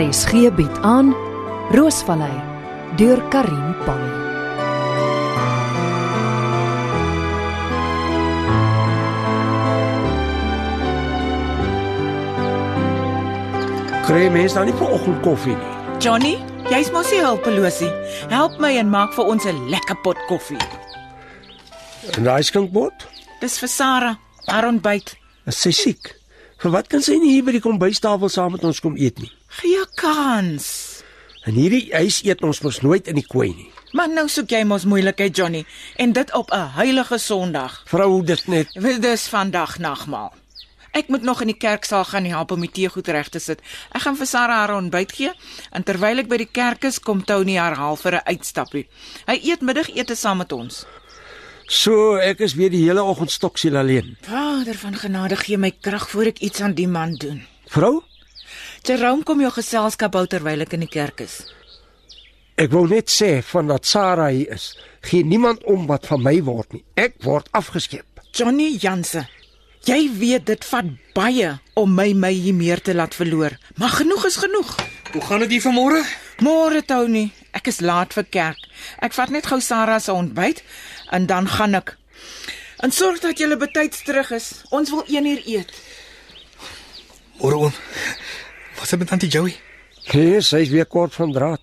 RSG bied aan Roosvallei deur Karin Pan. Kry mense nou nie vir oggendkoffie nie. Johnny, jy's mos se hulpelosie. Help my en maak vir ons 'n lekker pot koffie. En daai skinkbord? Dis vir Sarah, haar ontbyt. Is sy siek? Vir wat kan sy nie hier by die kombuistafel saam met ons kom eet nie? Gee jou kans. In hierdie huis eet ons mos nooit in die kooi nie. Maar nou soek jy mos moeilikheid, Johnny, en dit op 'n heilige Sondag. Vrou, dit net Wel, Dis vandag nagmaal. Ek moet nog in die kerksaal gaan help om die teegoed reg te sit. Ek gaan vir Sarah haar ontbyt gee en terwyl ek by die kerk is, kom Tony haar haal vir 'n uitstappie. Hy eet middagete saam met ons. so ek is weer die hele oggend stoksiel alleen. Vader van genade, gee my krag voor ek iets aan die man doen. Vrou, Jerome kom jou geselskap hou terwyl ek in die kerk is. ek wou net sê van dat Sarah hier is, gee niemand om wat van my word nie. Ek word afgeskeep. Johnny Jansen. Jy weet dit vat baie om my my hier meer te laat verloor, maar genoeg is genoeg. Hoe gaan dit hier vanmôre? Môre Tony, ek is laat vir kerk. Ek vat net gou Sarah se ontbyt en dan gaan ek. En sorg dat jy betyds terug is. Ons wil 1 uur eet. Môre oom. Wat het met tannie Joey? Nee, sy's weer kort van draad.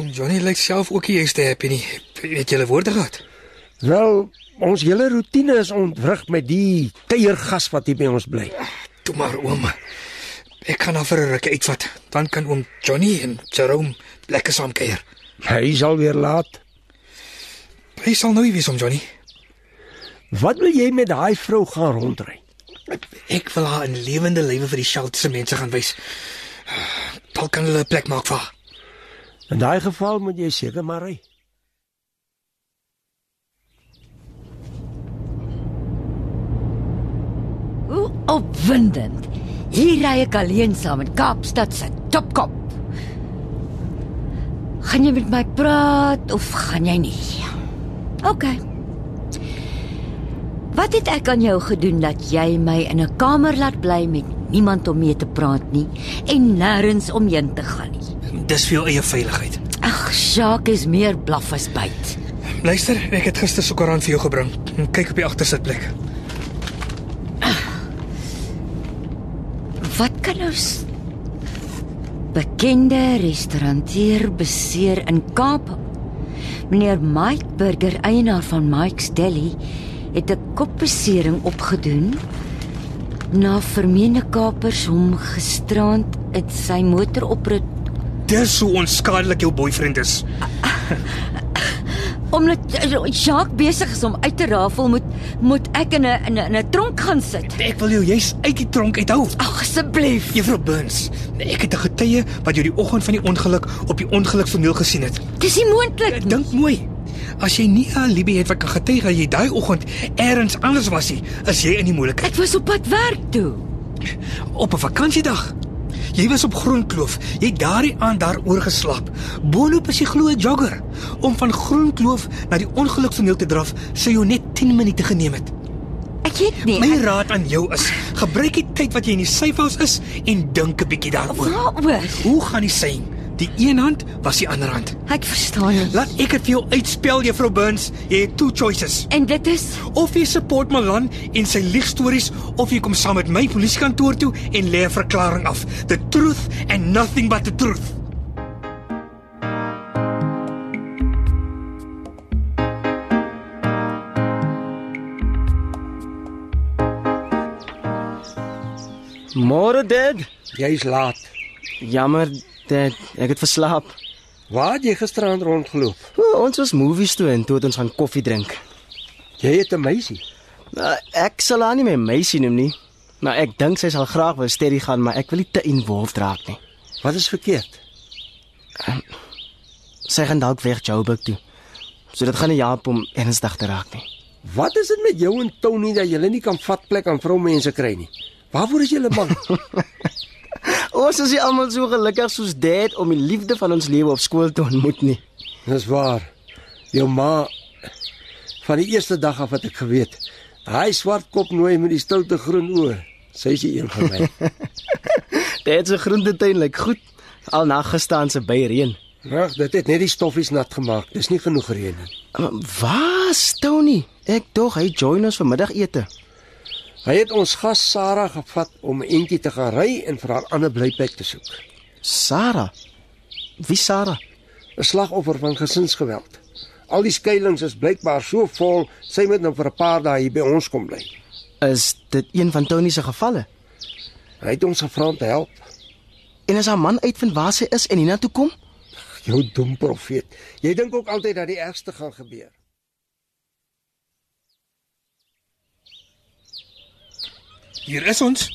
Oom Johnny lyk self ook nie eers te happy nie. Het julle woorde gehad? Wel, ons hele roetine is ontwrig met die teiergas wat hier by ons bly. Toe maar oom. Ek gaan haar vir 'n rukkie uitvat. Dan kan oom Johnny en Jerome lekker saam kuier. Hy is al weer laat. Hy sal nou wees oom Johnny. Wat wil jy met daai vrou gaan rondry? Ek wil haar in lewende lywe vir die Shelters se mense gaan wys. Dalk kan hulle 'n plek maak vir haar. In daai geval moet jy seker maar ry. Hoe opwindend. Hier ry ek alleen saam met Kaapstad se topkop. Gaan jy met my praat of gaan jy nie? OK. Wat het ek aan jou gedoen dat jy my in 'n kamer laat bly met niemand om mee te praat nie en nêrens omheen te gaan nie? Dis vir jou eie veiligheid. Ag, Jacques is meer blaf as byt. Luister, ek het gister se koerant vir jou gebring. Kyk op die agtersitplek. Wat kan ons bekende restauranteur beseer in Kaap? Meneer Mike Burger, eienaar van Mike's Deli, het 'n kopbesering opgedoen na vermeende kapers hom gisterand uit sy motor oprit Dis hoe onskadelik jou boyfriend is. omdat eh, Jacques besig is om uit te rafel moet moet ek in 'n in 'n- in 'n tronk gaan sit. Ek wil jou juis uit die tronk uithou. Ag asseblief. Juffrou Burns, ek het 'n getuie wat jou die oggend van die ongeluk op die ongelukstoneel gesien het. Dis nie moontlik nie. Dink mooi. As jy nie 'n alibi het wat kan getuig dat jy daai oggend elders anders was nie, as jy in die moeilikheid Ek was op pad werk toe. op 'n vakansiedag. Jy was op Groenkloof. Jy het daardie aand daar oorgeslaap. Boonop is jy glo 'n jogger. Om van Groenkloof na die ongelukstoneel te draf sou jou net 10 minute geneem het. Ek het nie. My ek- raad aan jou is: gebruik die tyd wat jy in die syfhuis is en dink 'n bietjie daaroor. Waaroor? Hoe gaan die sein? Die een hand was die ander hand. Ek verstaan nie. Laat ek dit vir jou uitspel, Juffrou Burns. Jy het twee choices. En dit is Of jy support Malan en sy leegstories of jy kom saam met my polisiekantoor toe en lê 'n verklaring af. The truth and nothing but the truth. Môre dit. Jy's laat. Jammer dit ek het verslaap. Waar het jy gisteraand rondgeloop? O, ons was movies toe en toe het ons gaan koffie drink. Jy het 'n meisie. Uh, ek sal haar nie my meisie noem nie. Maar ek dink sy sal graag wou steady gaan, maar ek wil nie te involved raak nie. Wat is verkeerd? Sy gaan dalk weg Joburg toe. So dit gaan nie help om ernstig te raak nie. Wat is dit met jou en Tony dat julle nie kan vat plek aan vroumense kry nie? Waarvoor is julle bang? Ons is nie almal so gelukkig soos dit om die liefde van ons lewe op skool te ontmoet nie. Dis waar. Jou ma van die eerste dag af wat ek geweet. Daai swart kop nooi met die stoute groen oë. Sy is die een van my. Dit se groentetuin lyk goed. Al na gisteraan se byreën. Reg, dit het net die stoffies nat gemaak. Dis nie genoeg reën nie. Was Tony? Ek dog hy join ons vir middagete. Hy het ons gas Sarah gevat om 'n entjie te gaan ry en vir haar ander blyplek te soek. Sarah. Wie Sarah? 'n Slagoffer van gesinsgeweld. Al die skuilings is blykbaar so vol, sy moet nou vir 'n paar dae hier by ons kom bly. Is dit een van Tony se gevalle? Hy het ons gevra om te help. En as haar man uitvind waar sy is en hiernatoe kom? Jou dom profeet. Jy dink ook altyd dat die ergste gaan gebeur. Hier is ons.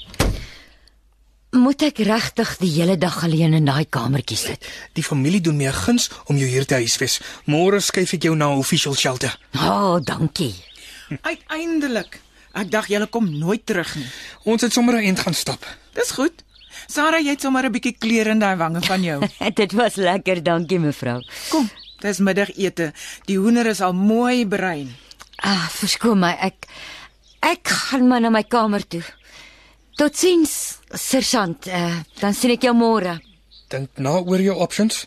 Moet ek regtig die hele dag alleen in daai kamertjie sit? Die familie doen my 'n guns om jou hier te huisves. Môre skuif ek jou na 'n official shelter. O, oh, dankie. Uiteindelik. Ek dink julle kom nooit terug nie. Ons het sommer 'n eind gaan stap. Dis goed. Sarah, jy het sommer 'n bietjie kleur in daai wange van jou. Dit was lekker, dankie mevrou. Kom, dis middagete. Die hoender is al mooi bruin. Ah, verskoon my, ek ek gaan maar na my kamer toe. Totsiens, sergeant. Uh, dan sien ek jou môre. Dink na oor jou options.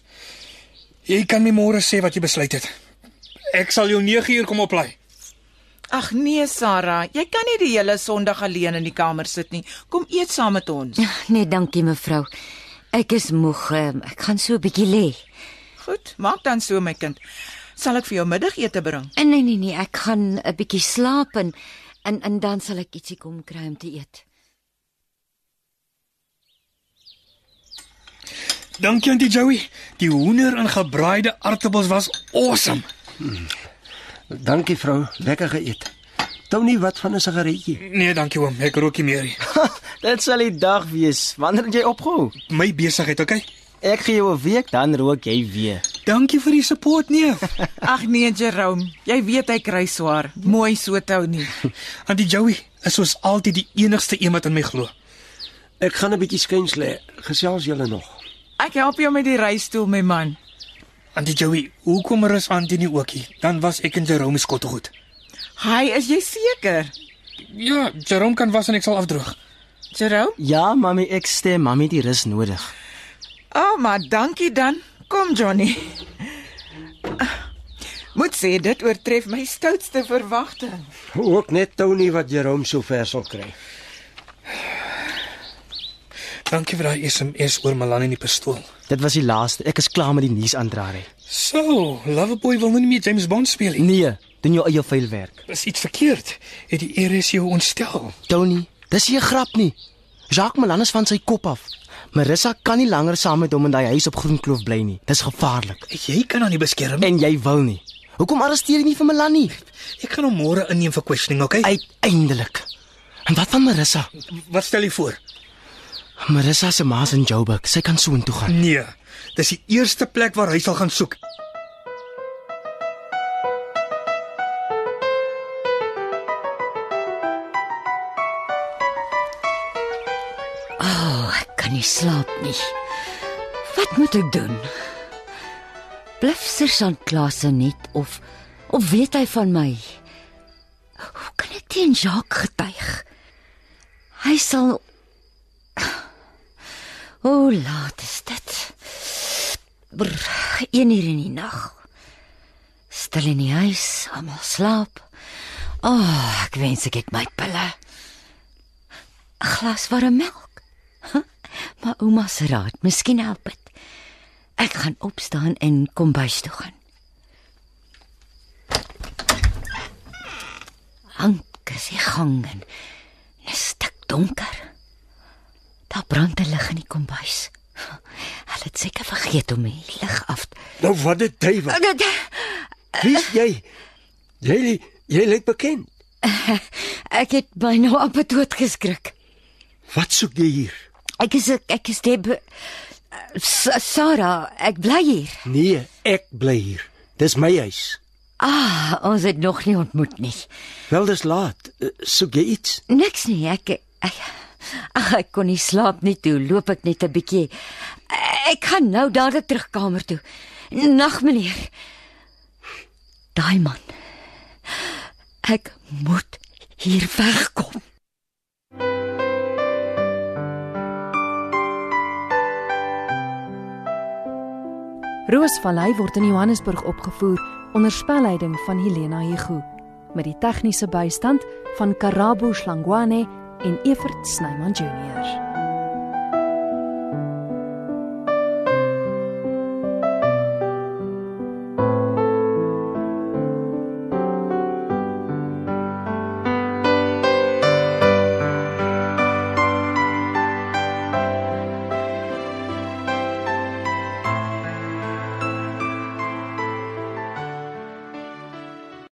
Jy kan my môre sê wat jy besluit het. Ek sal jou 9uur kom oplaai. Ag nee, Sarah, jy kan nie die hele Sondag alleen in die kamer sit nie. Kom eet saam met ons. Nee, dankie mevrou. Ek is moeg. ehm, Ek gaan so 'n bietjie lê. Goed, maak dan so my kind. Sal ek vir jou middagete bring? Eh, Nee nee nee, ek gaan 'n bietjie slaap en en, en dan sal ek ietsie kom kry om te eet. Dankie Auntie Joey. Die hoender en gebraaide aartappels was awesome. Dankie vrou, lekker geëet. Tony, wat van 'n sigaretjie? Nee, dankie oom. Ek rook nie meer nie. Dit sal die dag wees. Wanneer het jy opgehou? My besigheid, okay? Ek gee jou 'n week dan rook jy weer. Dankie vir die support, neef. Ag nee, Jerome, jy weet hy kry swaar. Mooi so tou nie. Auntie Joey is soos altyd die enigste een wat in my glo. Ek gaan 'n bietjie skuins lê. Gesels julle nog. Ek help jou met die reistoel, my man. Auntie Joey, hoekom rus Auntie nie ook nie? Dan was ek en Jerome skotte goed. Hi, is jy seker? Ja, Jerome kan was en ek sal afdroog. Jerome? Ja, mami, ek stem. Mami het die rus nodig. O, oh, maar dankie dan. Kom Johnny. Ah, Moet sê dit oortref my stoutste verwagting. Ook net Tony wat Jerome so ver sal kry. Dankie vir daai SMS oor Malan en die pistool. Dit was die laaste. Ek is klaar met die nuus aandraai. So, Loveboy wil nou nie meer James Bond speel nie. Nee, doen jou eie vuilwerk. Is iets verkeerd? Het die RS jou ontstel? Tony, dis nie 'n grap nie. Jacques Malan is van sy kop af. Marissa kan nie langer saam met hom in daai huis op Groenkloof bly nie. Dis gevaarlik. Jy kan hom nie beskerm nie. En jy wil nie. Hoekom arresteer jy nie vir Malan nie? Ek gaan hom môre inneem vir questioning, okay? Uiteindelik. En wat van Marissa? Wat stel jy voor? Marissa se ma's in Joburg. Sy kan soontoe gaan. Nee, dis die eerste plek waar hy sal gaan soek. O, oh, ek kan nie slaap nie. Wat moet ek doen? Bluf sergeant Klasen net of of weet hy van my? Hoe kan ek teen Jacques getuig? Hy sal O, oh, laat is dit. Brr, 1 uur in die nag. Stil in die huis, almal slaap. O, oh, ek wens ek het my pille. 'n glas warm melk. Huh? Maar ouma se raad, miskien help dit. Ek gaan opstaan en kom bys toe gaan. Hank is die gang en 'n stuk donker. Daar brand 'n lig in die kombuis. Hulle het seker vergeet om die lig af te... Nou wat dit duiwel. Wie's jy? Jy jy lyk bekend. Ek het byna op het dood geskrik. Wat soek jy hier? Ek is ek is Deb S- Sarah, ek bly hier. Nee, ek bly hier. Dis my huis. Ah, ons het nog nie ontmoet nie. Wel dis laat. Eh, Soek jy iets? Niks nie, ek ek ag ek kon nie slaap nie toe, loop ek net 'n bietjie. Ek gaan nou dadelik terugkamer toe. Nag meneer. Daai man. Ek moet hier wegkom. Roosvallei word in Johannesburg opgevoer onder spelleiding van Helena Hugo met die tegniese bystand van Karabo Slangwane en Evert Snyman Junior.